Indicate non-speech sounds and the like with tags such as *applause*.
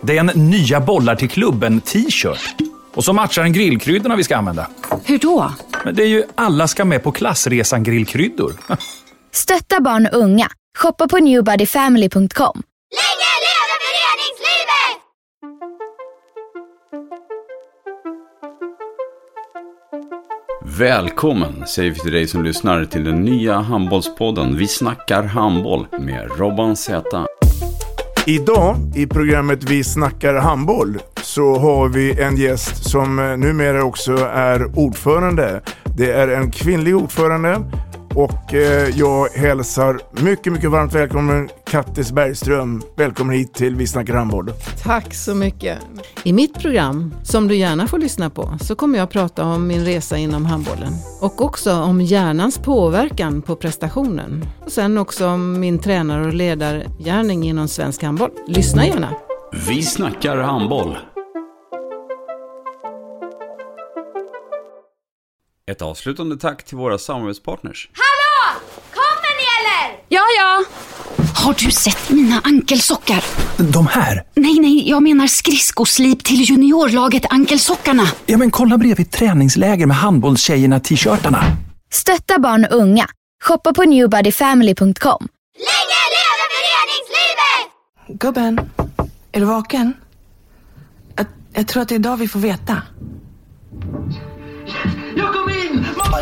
Det är en nya bollar till klubben-t-shirt. Och så matchar den grillkryddorna vi ska använda. Hur då? Men det är ju alla ska med på klassresan grillkryddor. *laughs* Stötta barn och unga. Shoppa på newbodyfamily.com. Länge leve föreningslivet! Välkommen säger vi till dig som lyssnar till den nya handbollspodden Vi snackar handboll med Robban Z. Idag i programmet Vi snackar handboll så har vi en gäst som eh, numera också är ordförande. Det är en kvinnlig ordförande och eh, jag hälsar mycket, mycket varmt välkommen Kattis Bergström. Välkommen hit till Vi snackar handboll. Tack så mycket. I mitt program, som du gärna får lyssna på, så kommer jag att prata om min resa inom handbollen. Och också om hjärnans påverkan på prestationen. Och sen också om min tränar och ledargärning inom svensk handboll. Lyssna gärna. Vi snackar handboll. Ett avslutande tack till våra samarbetspartners. Hallå! Kommer ni eller? Ja, ja. Har du sett mina ankelsockar? De här? Nej, nej, jag menar skridskoslip till juniorlaget Ankelsockarna. Ja, men kolla bredvid träningsläger med handbollstjejerna-t-shirtarna. Stötta barn och unga. Shoppa på newbodyfamily.com. Länge leve föreningslivet! Gubben, är du vaken? Jag, jag tror att det är idag vi får veta. Jag kom in! Mamma,